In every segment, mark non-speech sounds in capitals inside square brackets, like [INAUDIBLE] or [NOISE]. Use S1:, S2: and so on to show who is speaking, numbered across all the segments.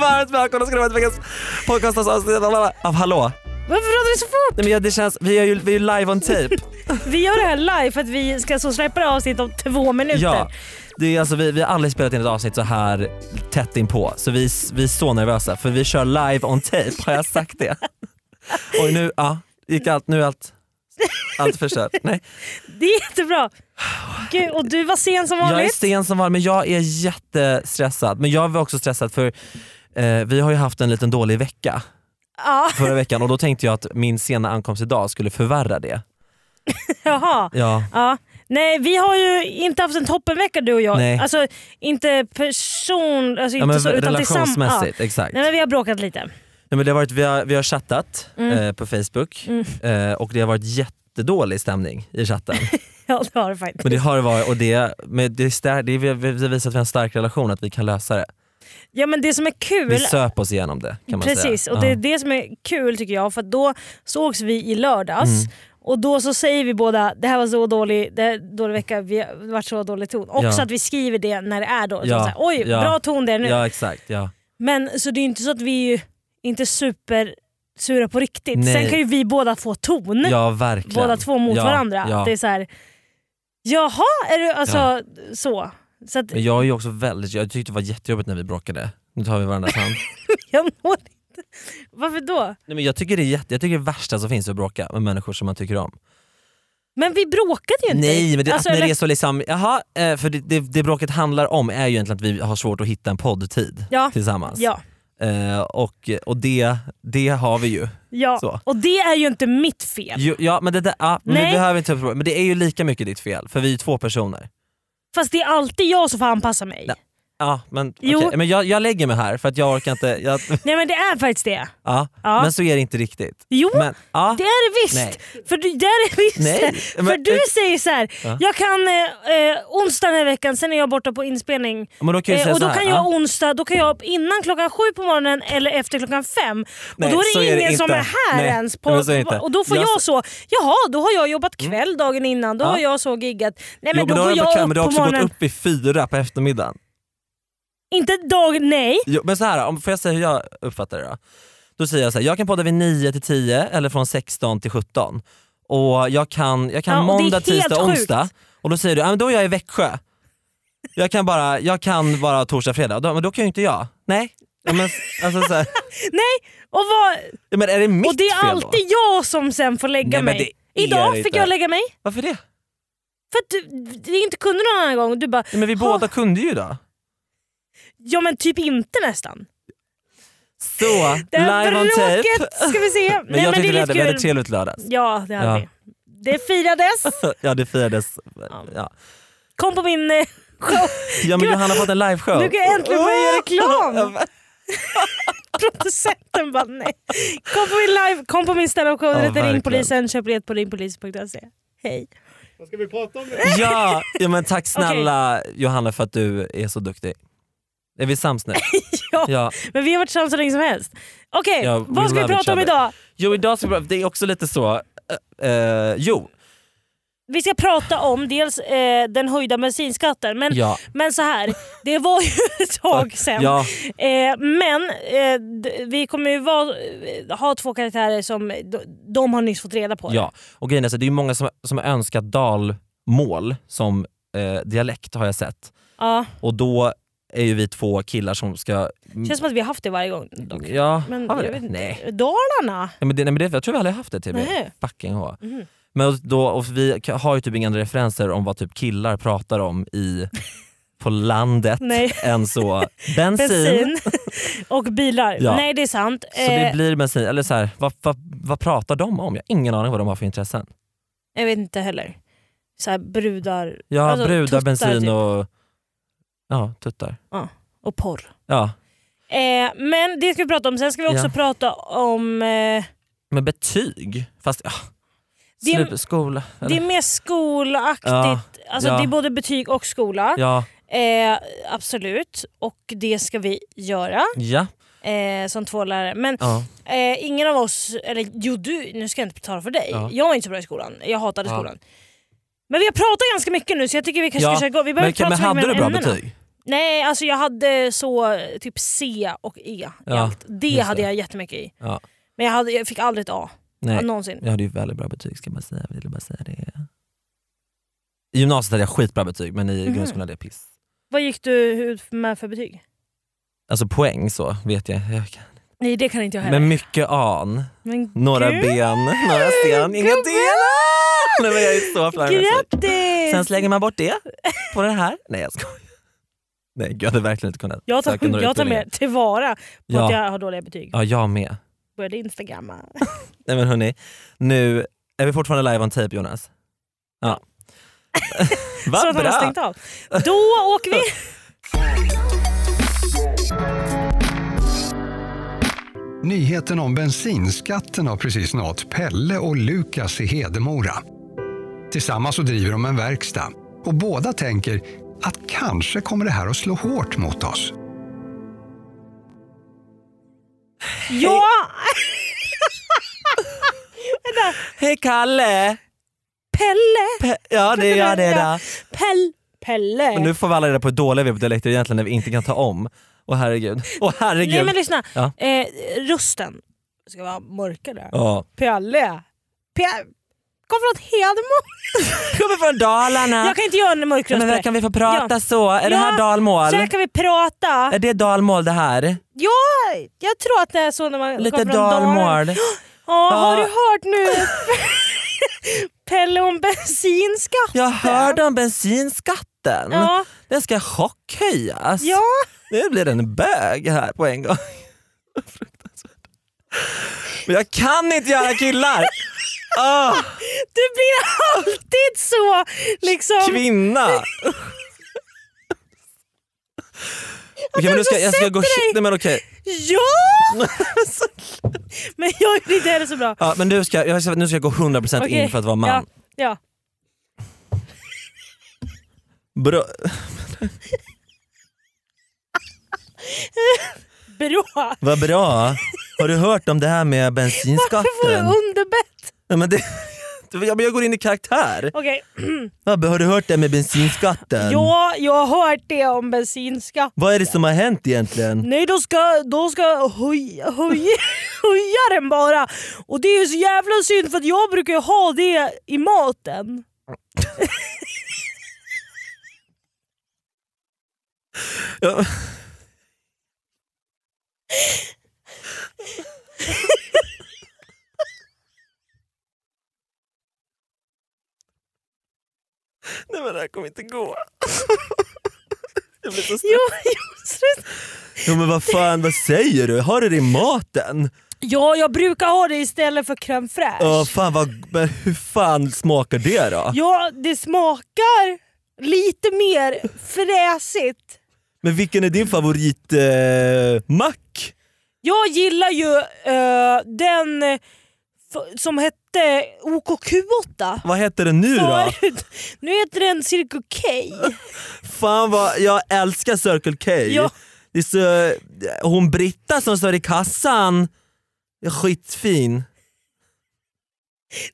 S1: varmt välkomna ska ni vara till veckans podcastavsnitt av Hallå.
S2: Varför pratar du så fort?
S1: Nej, men jag- det känns, vi är ju, vi är ju live on [LAUGHS] tape.
S2: Vi gör det här live för att vi ska så släppa det här avsnittet om två minuter.
S1: Ja, det är alltså, vi, vi har aldrig spelat in ett avsnitt så här tätt inpå så vi, vi är så nervösa för vi kör live on tape, har jag sagt [LAUGHS] det? Oj nu, ja, gick allt, nu är allt, allt förstört. Nej,
S2: Det är jättebra. Gud, och du var sen som
S1: jag är
S2: vanligt.
S1: sten som [LAUGHS] var men jag är jättestressad. Men jag var också stressad för eh, vi har ju haft en liten dålig vecka
S2: Ja, [LAUGHS]
S1: förra veckan och då tänkte jag att min sena ankomst idag skulle förvärra det.
S2: jaha.
S1: Ja,
S2: Ja. Nej, vi har ju inte haft en toppenvecka du och jag.
S1: Nej.
S2: Alltså inte person... Alltså,
S1: ja
S2: inte
S1: men
S2: så, utan tillsamm-
S1: relationsmässigt, exakt.
S2: Ja. Nej men vi har bråkat lite. [LAUGHS]
S1: Nej, men det har varit, vi, har, vi har chattat
S2: Mm.
S1: eh, på Facebook
S2: Mm.
S1: eh, och det har varit jättedålig stämning i
S2: [LAUGHS]
S1: chatten.
S2: Ja det har det faktiskt.
S1: Men det har det varit och det, men det, är stär, det, är- vi- vi visar att vi har en stark relation, att vi kan lösa det.
S2: Ja men det som är
S1: Vi
S2: kul...
S1: söp oss igenom det kan man säga.
S2: Precis, och det är
S1: Ja.
S2: det som är kul tycker jag för att då sågs vi i lördags
S1: Mm.
S2: och då så säger vi båda det här var så dålig, det här, är dålig vecka, vi har det har varit så dålig ton. Också
S1: Ja.
S2: att vi skriver det när det är dåligt.
S1: Ja,
S2: Så här, Oj,
S1: ja,
S2: bra ton där nu.
S1: Ja exakt, ja.
S2: Men så det är inte så att vi är ju inte super sura på riktigt.
S1: Nej.
S2: Sen kan ju vi båda få ton,
S1: ja verkligen.
S2: båda två mot
S1: ja,
S2: varandra.
S1: Ja.
S2: Det är så här, jaha, är du alltså
S1: Ja.
S2: så. Så att
S1: Men jag är ju också väldigt, jag tyckte det var jättejobbigt när vi bråkade. Nu tar vi varandras
S2: [LAUGHS]
S1: hand.
S2: jag når inte. Varför då?
S1: Nej, men jag, tycker det är jätte, jag tycker det värsta som finns är att bråka med människor som man tycker om.
S2: Men vi bråkade ju inte.
S1: Nej men det,
S2: Alltså,
S1: att när
S2: eller-
S1: det är så liksom, jaha, eh, för det, det, det bråket handlar om är ju egentligen att vi har svårt att hitta en poddtid
S2: Ja.
S1: tillsammans.
S2: Ja.
S1: Eh, och och det, det har vi ju.
S2: Ja,
S1: Så.
S2: och det är ju inte mitt fel.
S1: Jo, ja men det där, ja, men
S2: Nej.
S1: det behöver vi inte ta upp problemet. Men det är ju lika mycket ditt fel för vi är ju två personer.
S2: Fast det är alltid jag som får anpassa mig.
S1: Nej. Ja, men,
S2: Jo.
S1: okej. men jag, jag lägger mig här för att jag orkar inte. Jag,
S2: Nej men det är faktiskt det.
S1: ja,
S2: Ja.
S1: Men så är det inte riktigt.
S2: Jo,
S1: Men, ja,
S2: det är det visst. För du, det är det visst.
S1: Nej,
S2: För
S1: men- eh,
S2: du säger så här,
S1: Ja.
S2: jag kan eh, eh, onsdag den här veckan, sen är jag borta på inspelning.
S1: men då kan jag ju
S2: Eh,
S1: säga
S2: och då
S1: så här,
S2: kan
S1: ja.
S2: jag onsdag, då kan jag innan klockan sju på morgonen eller efter klockan fem.
S1: Nej,
S2: och då
S1: så
S2: är det
S1: är det
S2: ingen som
S1: inte.
S2: är här
S1: Nej,
S2: ens. På,
S1: men så är det inte.
S2: och då får
S1: Jag Mm.
S2: jag, så, jaha då har jag jobbat kväll dagen innan, då
S1: Ja.
S2: har jag så giggat. Nej men
S1: jo, men
S2: då,
S1: har
S2: går
S1: du
S2: jag
S1: på kvällen,
S2: upp
S1: men du har
S2: på
S1: också
S2: morgonen.
S1: gått upp i fyra på eftermiddagen.
S2: Inte dag, nej.
S1: Jo, men så här, om, får jag säga hur jag uppfattar det då? Då säger jag så här, jag kan podda vid 9 till 10 eller från 16 till 17. Och jag kan, jag kan
S2: Ja, och det är
S1: måndag,
S2: helt
S1: tisdag,
S2: sjukt.
S1: onsdag. Och då säger du, ja, men då är jag i Växjö. Jag kan bara, jag kan bara torsdag, fredag. Då, men då kan ju inte jag. Nej. Ja, men, alltså, så här,
S2: Och vad,
S1: ja, men är det mitt
S2: Och det är
S1: fel då?
S2: alltid jag som sen får lägga
S1: Nej, men
S2: mig.
S1: det är
S2: Idag
S1: det
S2: fick
S1: inte.
S2: jag lägga mig
S1: Varför det?
S2: för att du, du inte kunde någon annan gång. Du bara,
S1: Ja, men vi
S2: "Ha,
S1: båda kunde ju då.
S2: ja men typ inte nästan.
S1: Så,
S2: Det här
S1: live on tape.
S2: bråket ska vi se.
S1: [LAUGHS] Men jag tyckte vi hade, vi hade
S2: kul.
S1: trevligt lördags.
S2: Ja det hade
S1: Ja.
S2: vi. Det firades.
S1: Ja det firades. Ja.
S2: Kom på min eh, show.
S1: Ja men Johanna har fått en liveshow.
S2: Nu kan jag äntligen börja göra reklam.
S1: Ja,
S2: Producenten bara nej. Kom på min live, kom på min standup-show.
S1: Ja,
S2: Oh, ring
S1: verkligen.
S2: polisen, köp biljett på ringpolisen.se. Hej.
S3: Vad ska vi prata om nu?
S1: Ja, ja men tack snälla Johanna för att du är så duktig. Är vi sams nu?
S2: [LAUGHS] Ja.
S1: ja.
S2: Men vi har varit tillsammans så länge som helst. Okej,
S1: Ja, we
S2: vad ska vi
S1: love each
S2: prata om
S1: other.
S2: idag?
S1: Jo idag ska vi, det är också lite så, eh, eh, jo.
S2: Vi ska prata om dels eh, den höjda bensinskatten, men,
S1: Ja.
S2: men så här, det var ju [LAUGHS] ett tag sen.
S1: Ja,
S2: Eh, men eh, d- vi kommer ju vara, eh, ha två karaktärer som de, de har nyss fått reda på. det.
S1: ja. Och grejen är så, det är ju många som, som har önskat dalmål som eh, dialekt har jag sett.
S2: ja.
S1: Och då är ju vi två killar som ska...
S2: Känns som att vi har haft det varje gång. Dock.
S1: Ja,
S2: Men
S1: har vi
S2: jag
S1: det?
S2: vet inte.
S1: Nej.
S2: Dalarna?
S1: Ja, men det, nej men det, jag tror vi aldrig haft det till
S2: Nej.
S1: mig. Fucking ha.
S2: Mhm.
S1: Men då, och vi ka- har ju typ inga andra referenser om vad typ killar pratar om i, på landet
S2: Nej.
S1: [LAUGHS] än
S2: [LAUGHS]
S1: så bensin.
S2: Bensin
S1: [LAUGHS]
S2: och bilar.
S1: Ja.
S2: Nej det är sant.
S1: Så det
S2: Eh,
S1: blir bensin, eller så här, vad, vad, vad pratar de om? Jag har ingen aning vad de har för intressen.
S2: jag vet inte heller. Så här, brudar
S1: Ja,
S2: Alltså, tuttar
S1: brudar, bensin
S2: typ.
S1: och ja, tuttar.
S2: och porr.
S1: Ja.
S2: Eh, men det ska vi prata om. Sen ska vi också
S1: Ja.
S2: prata om eh,
S1: Men betyg, fast ja.
S2: Det är-
S1: Slut, skola.
S2: Det är
S1: Eller?
S2: mer skolaktigt.
S1: Ja,
S2: Alltså
S1: ja.
S2: Det är både betyg och skola.
S1: Ja,
S2: Eh, absolut. Och det ska vi göra
S1: ja,
S2: eh, som två lärare. Men
S1: ja.
S2: eh, ingen av oss, eller jo du, nu ska jag inte tala för dig.
S1: Ja.
S2: Jag var inte så bra i skolan. Jag hatade
S1: Ja.
S2: skolan. Men vi har pratat ganska mycket nu så jag tycker vi kanske
S1: Ja,
S2: ska köra igång. Vi behöver
S1: Men,
S2: inte prata
S1: men
S2: så mycket
S1: hade du
S2: mellan
S1: bra
S2: ämnena.
S1: betyg?
S2: Nej, alltså jag hade så typ C och E i
S1: Ja,
S2: allt. Det
S1: just
S2: hade
S1: det.
S2: jag jättemycket i.
S1: Ja.
S2: Men jag, hade, jag fick aldrig ett A.
S1: Nej,
S2: Någonsin.
S1: jag hade ju väldigt bra betyg ska man säga. Jag ville bara säga det. I gymnasiet hade jag skitbra betyg men i
S2: Mhm.
S1: grundskolan hade jag piss.
S2: Vad gick du ut med för betyg?
S1: Alltså poäng så vet jag. jag kan.
S2: Nej det kan inte jag heller.
S1: Men mycket an,
S2: Men
S1: några
S2: gud,
S1: ben, några sten, inga
S2: gubben!
S1: delar! Nej, men jag är så flamsig.
S2: Grattis!
S1: Sen slänger man bort det på det här. Nej jag skojar. Nej gud, jag hade verkligen inte kunnat
S2: jag
S1: söka
S2: tar,
S1: några
S2: jag tar
S1: utbildningar.
S2: med tillvara på
S1: Ja.
S2: att jag har dåliga betyg.
S1: Ja jag med.
S2: Började instagramma.
S1: Nej men hörni, nu är vi fortfarande live on tape Jonas.
S2: [LAUGHS]
S1: Ja.
S2: [LAUGHS] Så
S1: Vad
S2: att han har
S1: bra!
S2: stängt av. Då åker
S1: [LAUGHS]
S2: vi!
S3: Nyheten om bensinskatten har precis nått Pelle och Lukas i Hedemora. Tillsammans så driver de en verkstad och båda tänker att kanske kommer det här att slå hårt mot oss.
S2: Ja!
S1: Hej Kalle!
S2: Pelle!
S1: Pe- ja det är jag det där.
S2: Pell, Pelle!
S1: Men nu får vi alla reda på hur dåliga vi är på dialekter egentligen när vi inte kan ta om. Åh herregud. Åh
S2: Nej
S1: herregud.
S2: men lyssna.
S1: Ja.
S2: Eh, rösten ska vara mörkare.
S1: Ja.
S2: Pelle. Pe- Kom från Hedemora.
S1: Kommer från Dalarna.
S2: Jag kan inte göra en mörk
S1: Nej,
S2: röst.
S1: men
S2: på
S1: där
S2: det.
S1: kan vi få prata
S2: Ja.
S1: så? Är det här
S2: Ja,
S1: dalmål?
S2: Så här kan vi prata.
S1: Är det dalmål det här?
S2: Ja, jag tror att det är så när man
S1: Lite
S2: kommer från Dalarna.
S1: dalmål.
S2: Ja, har
S1: Ja.
S2: du hört nu [LAUGHS] Pelle om bensinskatt?
S1: Jag hörde Mm. om bensinskatten.
S2: Ja.
S1: Den ska chockhöjas.
S2: ja.
S1: Nu blir det en bög här på en gång. [LAUGHS] Fruktansvärt. Men jag kan inte göra
S2: [LAUGHS]
S1: killar! Ah,
S2: Du blir alltid så liksom...
S1: kvinna!
S2: [LAUGHS]
S1: Okej men nu ska, jag ska gå...
S2: Alltså, sätter dig.
S1: Nej, men okej. [LAUGHS]
S2: Ja! Men jag är inte heller så bra.
S1: Ja, men du ska, jag ska, nu ska jag gå 100%
S2: Okej,
S1: in för att vara man.
S2: Ja,
S1: Bro,
S2: ja. Bra.
S1: vad bra. Har du hört om det här med bensinskatten?
S2: Varför får du underbett?
S1: Nej, men det, [LAUGHS] jag, jag går in i karaktär.
S2: Okej,
S1: Vad- Har du hört det med bensinskatten?
S2: ja, jag har hört det om bensinskatt.
S1: Vad är det som har hänt egentligen?
S2: Nej, då ska, då ska höja, höja, [LAUGHS] höja den bara. Och det är ju så jävla synd för att jag brukar ju ha det i maten.
S1: Ja. Nej men det här kommer inte gå. Jag blir så stressad.
S2: Jo, jo, stress.
S1: Jo men vad fan, vad säger du? Har du det i maten?
S2: ja, jag brukar ha det istället för crème fraîche.
S1: Ja fan vad, men hur fan smakar det då?
S2: Ja, det smakar lite mer fräsigt.
S1: Men vilken är din favorit eh, mack?
S2: Jag gillar ju eh, den eh, f- som hette OKQ8.
S1: Vad heter den nu då?
S2: Förut. Nu heter den Circle K.
S1: Fan vad, jag älskar Circle K.
S2: Ja.
S1: Det är så, hon Britta som står i kassan, är skitfin.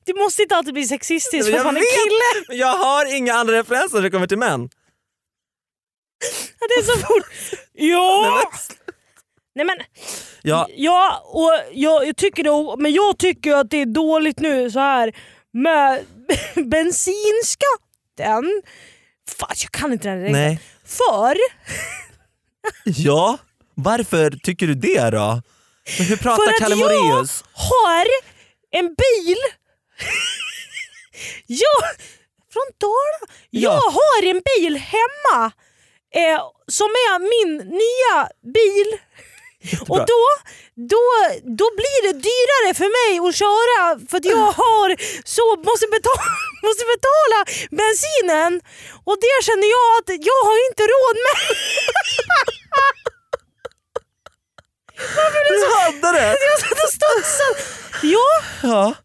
S2: Du måste inte alltid bli sexistisk för
S1: Jag
S2: att man är
S1: vet.
S2: kille.
S1: Men Jag har inga andra referenser när det kommer till män.
S2: Ja, Det är så fort.
S1: [LAUGHS] Nej,
S2: Ja! Nej men,
S1: Ja,
S2: ja, och jag, jag tycker det, men jag tycker att det är dåligt nu så här med [LAUGHS] bensinskatten. Fan, jag kan inte den regeln.
S1: nej.
S2: För
S1: Ja, varför tycker du det då? Men hur
S2: För att
S1: pratar Kalle
S2: jag-
S1: Moraeus?
S2: har en bil. [LAUGHS] jag, från Dalarna. Jag
S1: Ja.
S2: har en bil hemma eh, som är min nya bil. Och
S1: Jättebra.
S2: då, då, då blir det dyrare för mig att köra för att jag har så måste betala, [LAUGHS] måste betala bensinen. Och det känner jag att jag har inte råd med.
S1: Du hade det!
S2: Jag satt och studsade. Ja,
S1: Ja.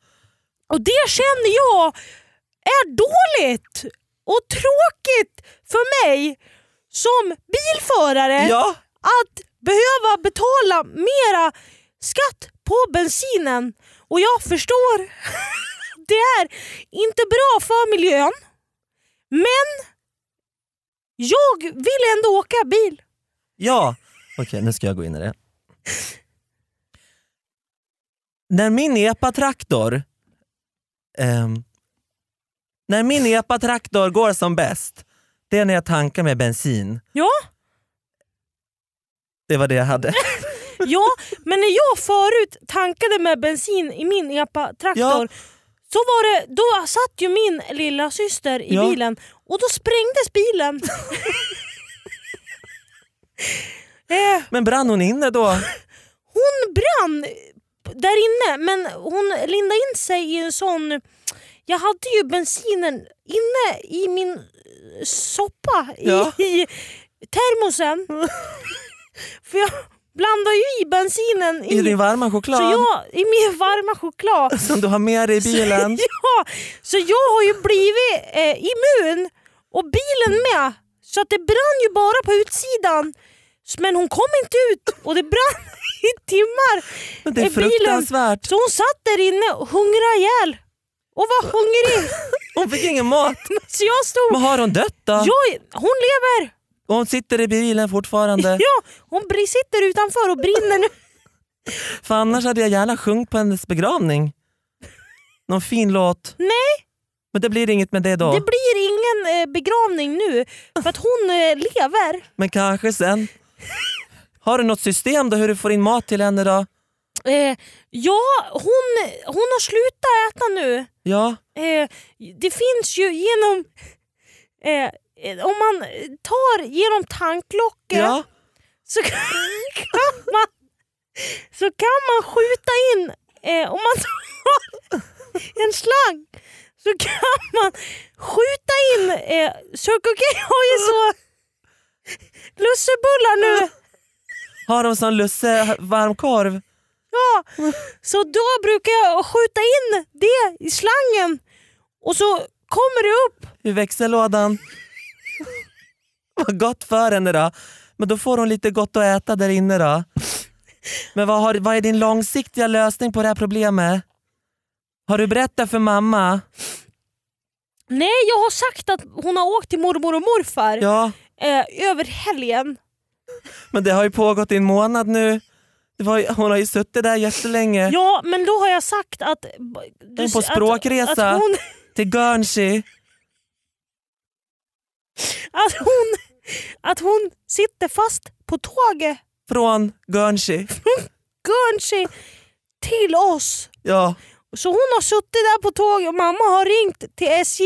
S2: Och det känner jag är dåligt och tråkigt för mig som bilförare
S1: ja,
S2: att behöva betala mera skatt på bensinen. Och jag förstår, [LAUGHS] det är inte bra för miljön. Men Jag vill ändå åka bil.
S1: Ja! Okej, nu ska jag gå in i det. När min epatraktor ehm, När min epatraktor går som bäst, det är när jag tankar med bensin.
S2: Ja,
S1: Det var det jag hade.
S2: ja. men när jag förut tankade med bensin i min E epa-traktor
S1: Ja.
S2: så var det, då satt ju min lilla syster i
S1: Ja.
S2: bilen och då
S1: [LAUGHS]
S2: sprängdes bilen. eh,
S1: Men brann hon inne då?
S2: hon brann där inne men hon lindade in sig i en sån... Jag hade ju bensinen inne i min eh, soppa i,
S1: Ja.
S2: [LAUGHS] i
S1: [LAUGHS]
S2: termosen. För jag blandade ju i bensinen [LAUGHS] i,
S1: I din varma
S2: så
S1: choklad
S2: jag, i min varma
S1: [LAUGHS]
S2: choklad.
S1: som du har med dig i bilen?
S2: [LAUGHS] ja, så jag har ju blivit eh, immun och bilen med. Så att det brann ju bara på utsidan. Men hon kom inte ut och det brann [LAUGHS] i timmar.
S1: Men det är
S2: i bilen.
S1: fruktansvärt.
S2: Så hon satt där inne och hungrade ihjäl. Och var hungrig.
S1: Hon fick ingen
S2: [LAUGHS]
S1: mat.
S2: Så jag stod...
S1: Men har hon dött då?
S2: Jag, hon lever!
S1: Och hon sitter i bilen fortfarande?
S2: [LAUGHS] Ja, hon br- sitter utanför och brinner nu.
S1: För annars hade jag gärna sjungit på hennes begravning. Någon fin låt.
S2: Nej,
S1: Men det blir inget med det då.
S2: det blir ingen eh, begravning nu. För att hon eh, lever.
S1: Men kanske sen. Har du något system då hur du får in mat till henne då?
S2: Eh, ja, hon, hon har slutat äta nu.
S1: Ja,
S2: Eh, det finns ju genom... Eh, eh, om man tar genom tanklocket
S1: ja.
S2: så kan kan man, så kan man skjuta in, eh, om man tar en slang, så kan man skjuta in, eh, Circle K har ju så lussebullar nu,
S1: Har de sån lusse varmkorv?
S2: ja. så då brukar jag skjuta in det i slangen och så kommer det upp
S1: i växellådan. Vad gott för henne då. Men då får hon lite gott att äta där inne då. Men vad, har, vad är din långsiktiga lösning på det här problemet? Har du berättat för mamma?
S2: Nej, jag har sagt att hon har åkt till mormor och morfar
S1: Ja,
S2: eh, över helgen.
S1: men det har ju pågått i en månad nu. Det var, ju- hon har ju suttit där jättelänge.
S2: Ja, men då har jag sagt att...
S1: är på språkresa.
S2: Att, att, hon, [LAUGHS]
S1: Till Guernsey.
S2: att, hon, att hon sitter fast på tåget
S1: Från Guernsey.
S2: Guernsey till oss.
S1: Ja.
S2: Så hon har suttit där på tåget och mamma har ringt till
S1: [LAUGHS]
S2: SJ.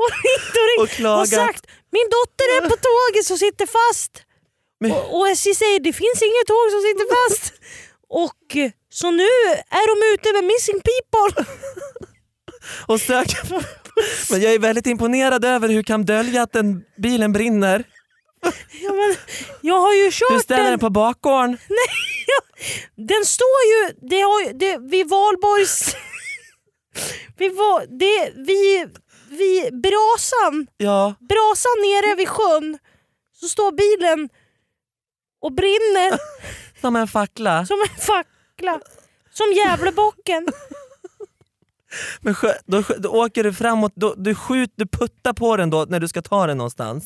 S2: och ringt och ringt
S1: Och klagat.
S2: och sagt min dotter är på tåget som sitter fast.
S1: Men-
S2: Och, och SJ säger det finns inget tåg som sitter fast. och eh, så nu är de ute med missing people. [LAUGHS]
S1: och söker. Men jag är väldigt imponerad över hur du kan dölja att den bilen brinner.
S2: Ja, men, jag har ju
S1: Du
S2: kört
S1: ställer
S2: den.
S1: den på bakgården.
S2: Den står ju, det har, ju- det, vid Valborgs... [LAUGHS] vid, Va- det, vid, vid brasan,
S1: Ja.
S2: brasan nere vid sjön så står bilen och brinner
S1: Som en fackla.
S2: som en fackla. Som Gävlebocken.
S1: Men skö, då, skö- då åker du framåt, då, du skjuter, du puttar på den då när du ska ta den någonstans.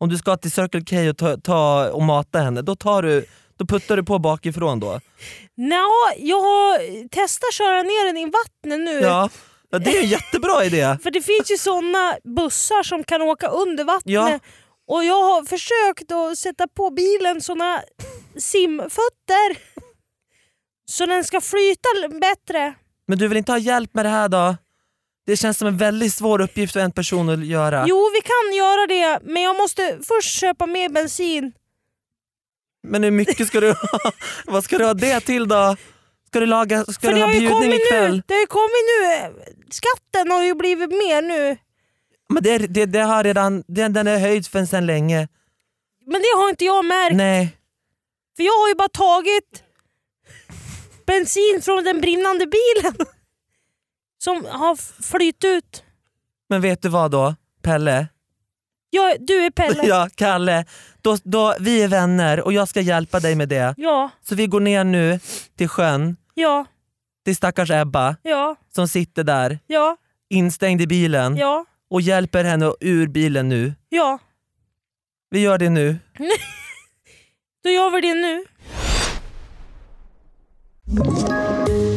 S1: Om du ska till Circle K och, ta, ta, och mata henne, då, tar du, då puttar du på bakifrån då.
S2: Nå, jag har testat köra ner den i vattnet nu.
S1: Ja, ja det är en jättebra idé.
S2: För det finns ju såna bussar som kan åka under vattnet.
S1: Ja.
S2: Och jag har försökt att sätta på bilen såna simfötter. Så den ska flyta l- bättre.
S1: Men du vill inte ha hjälp med det här då? Det känns som en väldigt svår uppgift för en person att göra.
S2: Jo, vi kan göra det, men jag måste först köpa mer bensin.
S1: Men hur mycket ska du ha? [LAUGHS] Vad ska du ha det till då? Ska du laga, ska
S2: För
S1: du
S2: det
S1: ha
S2: har ju
S1: bjudning
S2: kommit nu.
S1: ikväll?
S2: Det har ju kommit nu. Skatten har ju blivit mer nu.
S1: Men det, är- det, det har redan, den, den är höjd för sedan länge.
S2: Men det har inte jag märkt.
S1: Nej.
S2: För jag har ju bara tagit bensin från den brinnande bilen. [LAUGHS] Som har f- flytt ut.
S1: Men vet du vad då, Pelle?
S2: Jag, du är Pelle.
S1: [LAUGHS] Ja, Kalle. Då, då, vi är vänner och jag ska hjälpa dig med det.
S2: Ja,
S1: Så vi går ner nu till sjön,
S2: ja,
S1: till stackars Ebba
S2: ja,
S1: som sitter där
S2: ja,
S1: instängd i bilen
S2: ja.
S1: och hjälper henne ur bilen nu.
S2: Ja,
S1: Vi gör det nu.
S2: då gör vi det nu.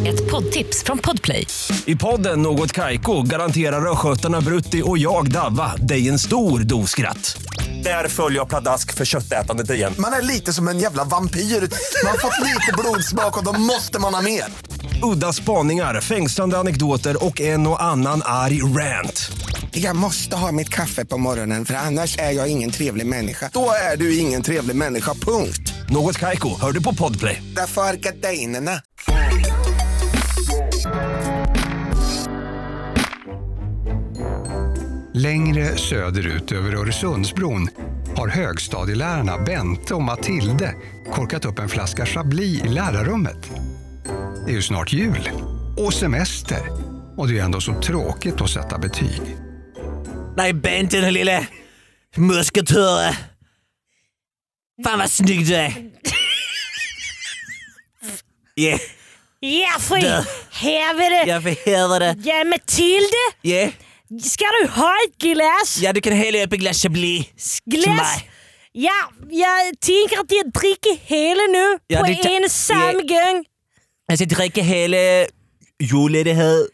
S4: Ett poddtips från Podplay.
S5: I podden Något Kaiko garanterar östgötarna Brutti och jag, Davva, dig en stor dos skratt. Där följer jag pladask för köttätandet igen.
S6: Man är lite som en jävla vampyr. Man har fått lite blodsmak och då måste man ha mer.
S5: Udda spaningar, fängslande anekdoter och en och annan arg rant.
S7: Jag måste ha mitt kaffe på morgonen för annars är jag ingen trevlig människa.
S6: Då är du ingen trevlig människa, punkt.
S5: Något Kaiko, hör du på Podplay.
S7: Därför är gardinerna.
S3: Längre söderut över Öresundsbron har högstadielärarna Bente och Matilde korkat upp en flaska Chablis i lärarrummet. Det är ju snart jul och semester och det är ändå så tråkigt att sätta betyg.
S1: Nej Bente den lille musketöre. Fan vad snygg du är. Yeah,
S2: Ja, för i helvete!
S1: jag förhäver det.
S2: Ja, Matilda!
S1: Yeah.
S2: Ska du ha ett glass?
S1: Ja, du kan hälla upp ett glas Chablis. till
S2: Glass?
S1: mig.
S2: Ja, jag tänker att jag dricker hela nu
S1: Ja,
S2: på
S1: det kan-
S2: en samma gång.
S1: Jag ska dricka hela julledighet.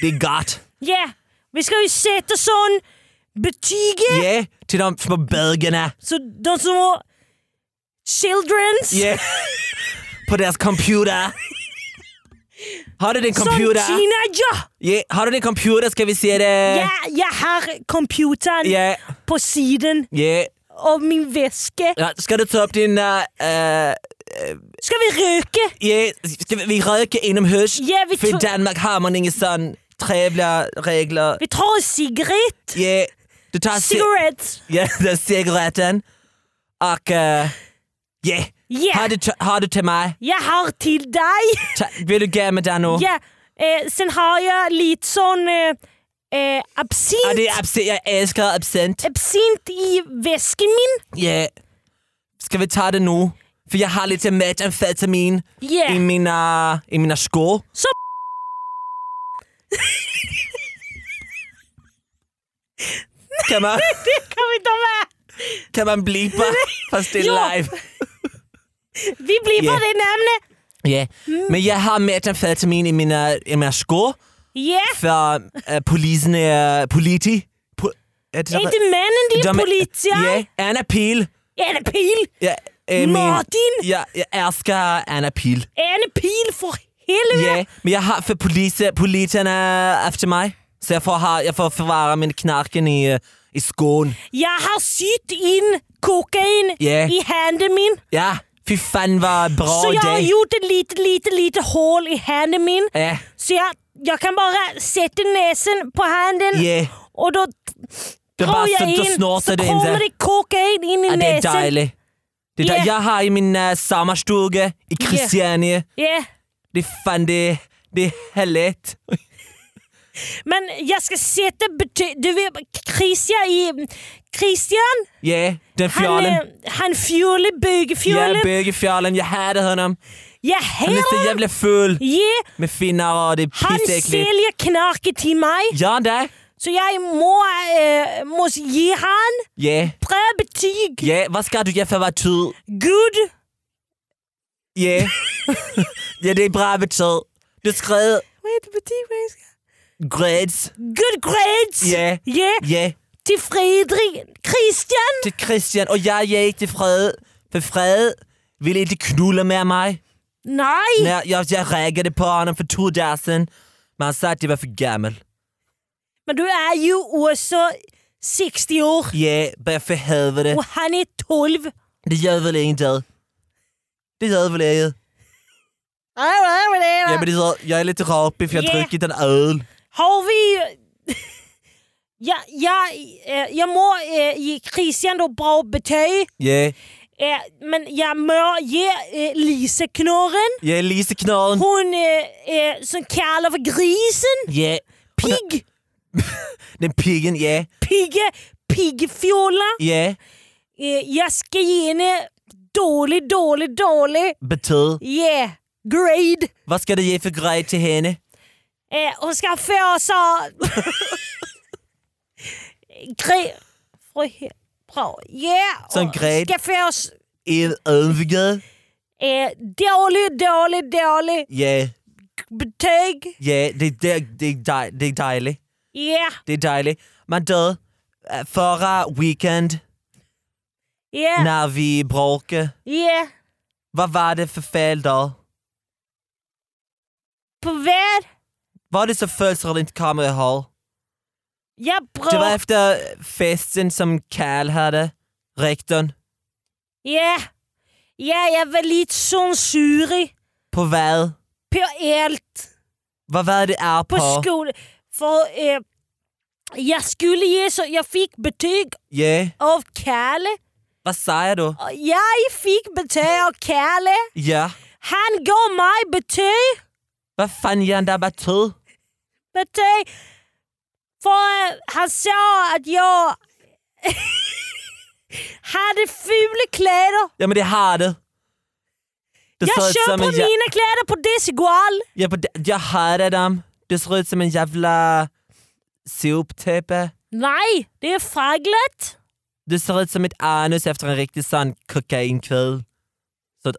S1: Det är gott.
S2: Ja, vi ska ju sätta sån betyget.
S1: Yeah, till de små bögarna.
S2: Så de som har childrens.
S1: Yeah. På deras computer. Har du din
S2: Som
S1: computer?
S2: teenager!
S1: Yeah. Har du din computer ska vi se det.
S2: Ja, jag har computern
S1: Yeah.
S2: på sidan
S1: Yeah.
S2: av min väska.
S1: Ja, ska du ta upp dina... eh,
S2: Ska vi röka?
S1: Ja, ska vi röka inomhus?
S2: Ja, vi
S1: För i
S2: tror-
S1: Danmark har man inga sån trevliga regler.
S2: Vi tar en cigarett.
S1: Ja, du tar ci-
S2: Cigarett.
S1: ja, [LAUGHS] den cigaretten. Och... eh, Ja,
S2: Ja.
S1: har, du t- har du till mig?
S2: Jag har till dig.
S1: Ta- vill du ge mig den nu?
S2: Ja. Eh, sen har jag lite sån eh, eh, absint.
S1: Ja, Ah, det är absint. Jag älskar absint.
S2: absint i väskan min.
S1: Ja. Ska vi ta det nu? För jag har lite metamfetamin
S2: Yeah.
S1: i, mina, i mina skor. Kan man,
S2: [LAUGHS] Det kan vi ta med.
S1: kan man blipa? Fast det är
S2: Ja.
S1: live.
S2: Vi blir på
S1: Ja.
S2: det namnet.
S1: Ja, men jag har metamfetamin i mina, i mina skor
S2: Ja.
S1: för äh, polisen är politi. Po, är det
S2: Är inte männen din
S1: De är-
S2: politia?
S1: Ja, Anna Pil.
S2: Är det pil?
S1: Ja, äh, min-
S2: Martin!
S1: Ja, jag älskar Anna Pil.
S2: Är det pil för helvete?
S1: Ja, men jag har för polisen, polisen är efter mig. Så jag får, ha, jag får förvara min knarken i, eh, i skon.
S2: Jag har sytt in kokain
S1: Ja.
S2: i handen min.
S1: Ja, fy fan vad bra
S2: Så jag har
S1: det
S2: gjort ett litet, litet, litet hål i handen min.
S1: Ja,
S2: Så jag, jag kan bara sätta näsen på handen
S1: ja.
S2: och då
S1: Du
S2: drar
S1: bara
S2: jag
S1: så-
S2: in
S1: då
S2: så
S1: snortar du
S2: kommer
S1: inte.
S2: det kokain in i
S1: Ja, det är
S2: näsen.
S1: dejligt. Det är
S2: Ja.
S1: dejligt. Jag har i min uh, sommarstuga i Christiania.
S2: Ja.
S1: Det är fan det, det är härligt.
S2: Men jag ska sätta betyg... Du vet Christian i... Christian?
S1: Ja, den
S2: Han, eh,
S1: fjollen.
S2: han fjule,
S1: Ja,
S2: bögefjule.
S1: bögefjollen. Jag hatar honom.
S2: Jag
S1: Han är så
S2: hatar honom.
S1: jävla full
S2: Ja,
S1: med finnar och det är
S2: han
S1: pissäckligt.
S2: säljer knarket till mig.
S1: Gör han det?
S2: Så jag må, eh, måste ge han
S1: Ja.
S2: bra betyg.
S1: Ja, vad ska du göra för att vara tur?
S2: Good.
S1: Ja. Ja, det är bra betyg. Du skrev
S2: Vad heter betyg på engelska?
S1: grades.
S2: Good grades.
S1: Ja.
S2: Ja,
S1: Ja,
S2: Till Fredrik. Christian.
S1: till Christian och jag gick till Fred. För Fred ville inte knulla med mig.
S2: Nej.
S1: När jag, jag räkade på honom för två dagar sedan. Men han sa att jag var för gammal.
S2: Men du är ju också 60 år
S1: Ja, bara för helvete.
S2: och han är 12.
S1: Det gör väl inte. Det gör väl inget. Ja, men det gör, jag är lite rapig för jag har
S2: Ja.
S1: druckit en öl.
S2: Har vi... [LAUGHS] Ja, ja, eh, jag må eh, ge Christian då bra betyg,
S1: Ja,
S2: eh, men jag må ge eh, Lisa knorren.
S1: jag är Lise Knarren.
S2: Hon eh, eh, som kallar för grisen.
S1: Ja,
S2: Pigg.
S1: den piggen, ja.
S2: Pigge. Piggfjolla.
S1: Ja,
S2: Eh, jag ska ge henne dålig, dålig, dålig.
S1: betyg.
S2: Yeah. Grade.
S1: Vad ska du ge för grej till henne?
S2: Eh, hon ska få så... gre... Frihet. Bra. Yeah!
S1: Som
S2: och
S1: gred.
S2: Skaffa oss
S1: En övge,
S2: eh, dålig, dålig, dålig
S1: ja,
S2: betyg.
S1: ja, det, det, det, är dej- det är dejligt.
S2: Yeah!
S1: Det är dejligt. Men du, eh, förra weekend
S2: Yeah!
S1: när vi bråkade,
S2: Yeah!
S1: vad var det för fel där?
S2: På vad?
S1: Var det så födelsedag du inte kom ihåg?
S2: Jag
S1: Det var
S2: bråkar.
S1: efter festen som Cal hade, rektorn,
S2: Yeah! Ja, jag var lite sån surig
S1: på vad?
S2: på allt.
S1: Vad var det är
S2: på
S1: på?
S2: skolan. För eh, jag skulle ge så, jag fick betyg
S1: Ja,
S2: av Kalle.
S1: vad säger du?
S2: Och Jag fick betyg av Kalle.
S1: Ja,
S2: Han gav mig betyg.
S1: vad fan gör han där med tur?
S2: betyg för eh, han sa att jag [LAUGHS] hade fula kläder.
S1: Ja men det har du. Du ser
S2: Jag
S1: ut som
S2: köper
S1: en jä-
S2: mina kläder på Desigual.
S1: Ja, på det- jag hörde dem. Du ser ut som en jävla soptippe.
S2: Nej, det är fragglet.
S1: Du ser ut som ett anus efter en riktig sån kokainkväll. Så ett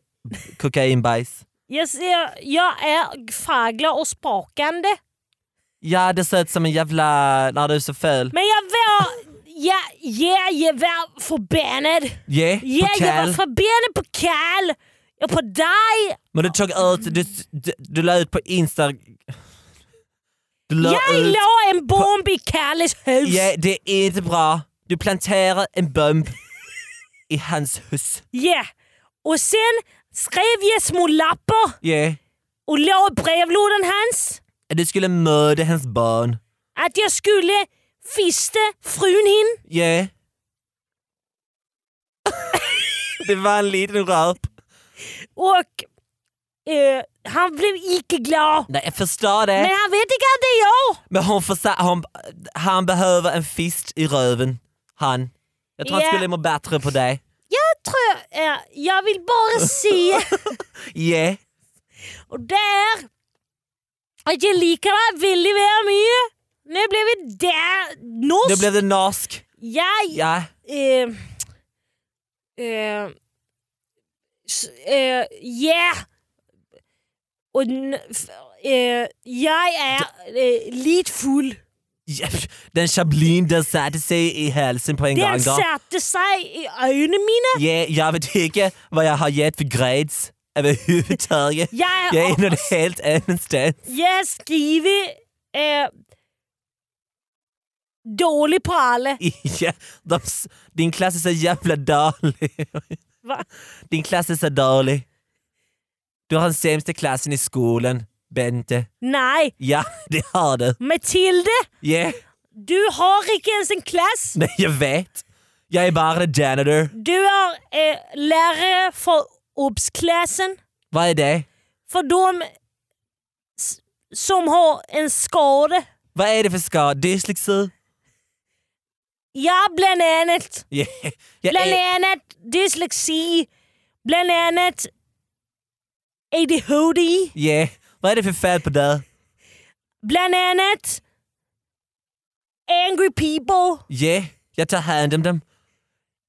S1: kokainbajs.
S2: Jag, ser, jag är fragglar och sprakande.
S1: Ja, du ser ut som en jävla... När du är så fel.
S2: Men jag var... Ja, ja, jag var förbannad.
S1: Yeah,
S2: Ja,
S1: på
S2: jag var
S1: Cal.
S2: förbannad på Cal och på dig.
S1: Men du tog ut... Du, du, du la ut på Insta... Du la
S2: Jag
S1: ut...
S2: la en bomb i Calles hus.
S1: Ja, det är inte bra. Du planterar en bomb i hans hus.
S2: Ja. Och sen skrev jag små lappar
S1: Yeah.
S2: och la i brevlådan hans
S1: Du skulle mörda hans barn.
S2: att jag skulle fista frun hin.
S1: Yeah. [LAUGHS] det var en liten röp.
S2: Och eh, han blev icke glad.
S1: Nej, jag förstår
S2: Men
S1: det.
S2: han vet inte att det är jag.
S1: Men hon försa- hon, han behöver en fist i röven. Han. Jag tror
S2: Ja.
S1: han skulle må bättre på det.
S2: Jag tror jag, eh, jag vill bara se
S1: Yeah.
S2: Och där... Att jag liker deg veldig vel mye. Nå ble vi der norsk.
S1: Då blev det norsk.
S2: Jeg
S1: Ja.
S2: eh, eh, s- eh, Ja. Og n- f- eh, jeg er eh, litt full.
S1: Ja, Den chablin den satte sig i halsen på en gång.
S2: Den
S1: då.
S2: satte seg i øynene mine.
S1: Ja, jag vet inte vad jag har gett för grades överhuvudtaget.
S2: Jeg,
S1: Jag är någon helt annanstans.
S2: jeg skriver eh, Dårlig på alle.
S1: Ja, de, s- din klass är så jävla dålig.
S2: Va?
S1: Din klass är så dålig. Du har den sämsta klassen i skolan, Bente.
S2: Nei.
S1: Ja, det har du.
S2: Mathilde,
S1: Yeah.
S2: du har ikke ens en klasse.
S1: Nej, jag vet. Jag är bara en janitor.
S2: Du er eh, lærer for obs-klassen.
S1: Vad är det?
S2: For de s- som har en skade.
S1: Vad är det för skada? Dyslexi?
S2: Ja, blant annet.
S1: Yeah. eh, Jag
S2: Blant
S1: är,
S2: annet dysleksi. Blant annet ADHD.
S1: yeah. Vad är det för fel på dig?
S2: Blant annet angry people.
S1: Yeah. Jag tar hand om dem.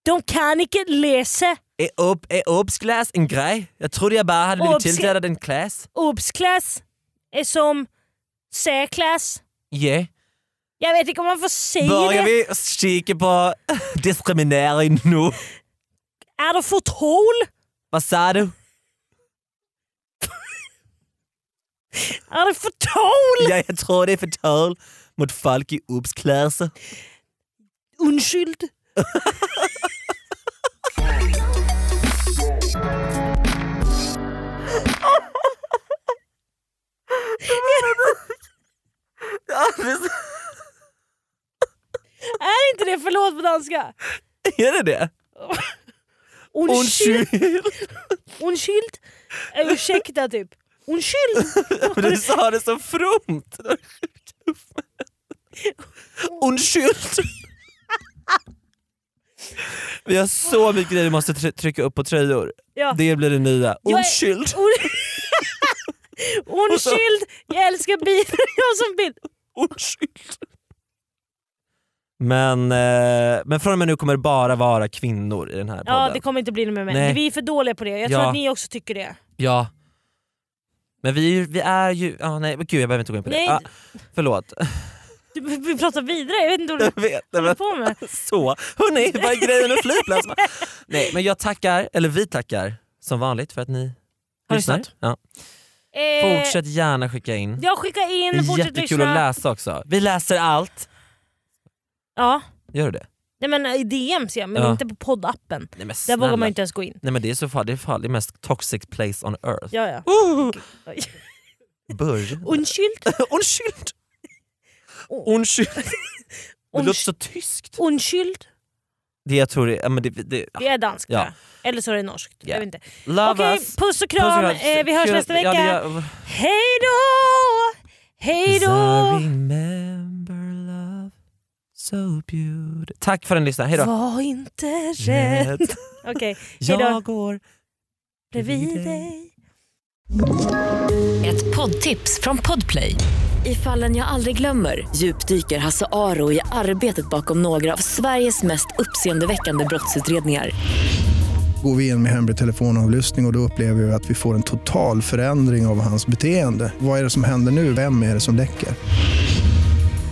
S2: De kan ikke lese.
S1: Är upp, är obsklass en grej? Jag trodde jag bara hade blivit
S2: Obs-
S1: tilldelad en klass.
S2: Obs-klasse er eh, som særklasse.
S1: Yeah.
S2: Jeg vet ikke om man får si det.
S1: Börjar vi kika på [LAUGHS] diskriminering nu?
S2: Er det for troll?
S1: Vad sa du?
S2: Er det for troll?
S1: Ja, jag tror det är förtal mot folk i [LAUGHS] obsklasser.
S2: Unnskyld. Är inte det förlåt på danska?
S1: Är det det?
S2: Undskyld.
S1: Undskyld.
S2: Undskyld. Eh, Ursäkta typ. Undskyld.
S1: Men du sa det så fromt. Undskyld. Vi har så mycket grejer vi måste try- trycka upp på tröjor.
S2: Ja.
S1: Det blir det nya.
S2: Jag är-
S1: Undskyld.
S2: Un- Undskyld. Jag älskar bilen. Jag har som bild.
S1: Undskyld. Men, eh, men från och med nu kommer det bara vara kvinnor i den här podden.
S2: Ja det kommer inte bli något med mig.
S1: Nej.
S2: Vi är för dåliga på det. Jag tror
S1: Ja.
S2: att ni också tycker det.
S1: Ja. Men vi, är ju- vi är ju... Ah, nej, men gud jag behöver inte gå in på
S2: Nej.
S1: det. Ah, förlåt.
S2: Du, vi pratar vidare, [LAUGHS] jag vet inte vad du
S1: [LAUGHS] Jag vet, nej,
S2: håller
S1: men,
S2: på med.
S1: så.
S2: [LAUGHS]
S1: Hörni, vad är grejen med flygplats? nej, men jag tackar, eller vi tackar, som vanligt för att ni
S2: Har
S1: lyssnar.
S2: lyssnat?
S1: Ja.
S2: Eh,
S1: Fortsätt gärna skicka in.
S2: Jag skickar
S1: Det
S2: in,
S1: är
S2: fortsätt
S1: jättekul att
S2: lyssna.
S1: läsa också. Vi läser allt.
S2: Ja.
S1: Gör du det?
S2: Nej men i DMs ja, men
S1: Ja.
S2: inte på poddappen.
S1: Nej men
S2: Där
S1: snälla.
S2: vågar man ju inte ens gå in.
S1: Nej men det är så farligt, det är farligt. Det är mest toxic place on earth.
S2: Ja, ja. Oj. [LAUGHS]
S1: Börj.
S2: Undskyld.
S1: [LAUGHS] Undskyld!
S2: [LAUGHS]
S1: Undskyld. Det låter så tyskt.
S2: Undskyld.
S1: Det jag tror är, ja, men det, det,
S2: Det är danskt
S1: Ja.
S2: tror jag. Eller så är det norskt.
S1: Ja.
S2: Jag vet inte.
S1: Love
S2: Okej,
S1: us.
S2: puss och kram.
S1: Puss och kram.
S2: Eh, vi hörs
S1: Kul-
S2: nästa
S1: Ja,
S2: vecka.
S1: det gör-
S2: Hej då! Hej
S1: Cause I
S2: då!
S1: remember love so beautiful. Tack för att ni lyssnade, hejdå.
S2: Var inte rädd. Okej, [LAUGHS] hej då.
S1: Jag går
S2: Bredvid dig.
S4: Ett poddtips från Podplay. I fallen jag aldrig glömmer djupdyker Hasse Aro i arbetet bakom några av Sveriges mest uppseendeväckande brottsutredningar.
S8: Går vi in med hemlig telefonavlyssning och, och då upplever vi att vi får en total förändring av hans beteende. Vad är det som händer nu? Vem är det som läcker?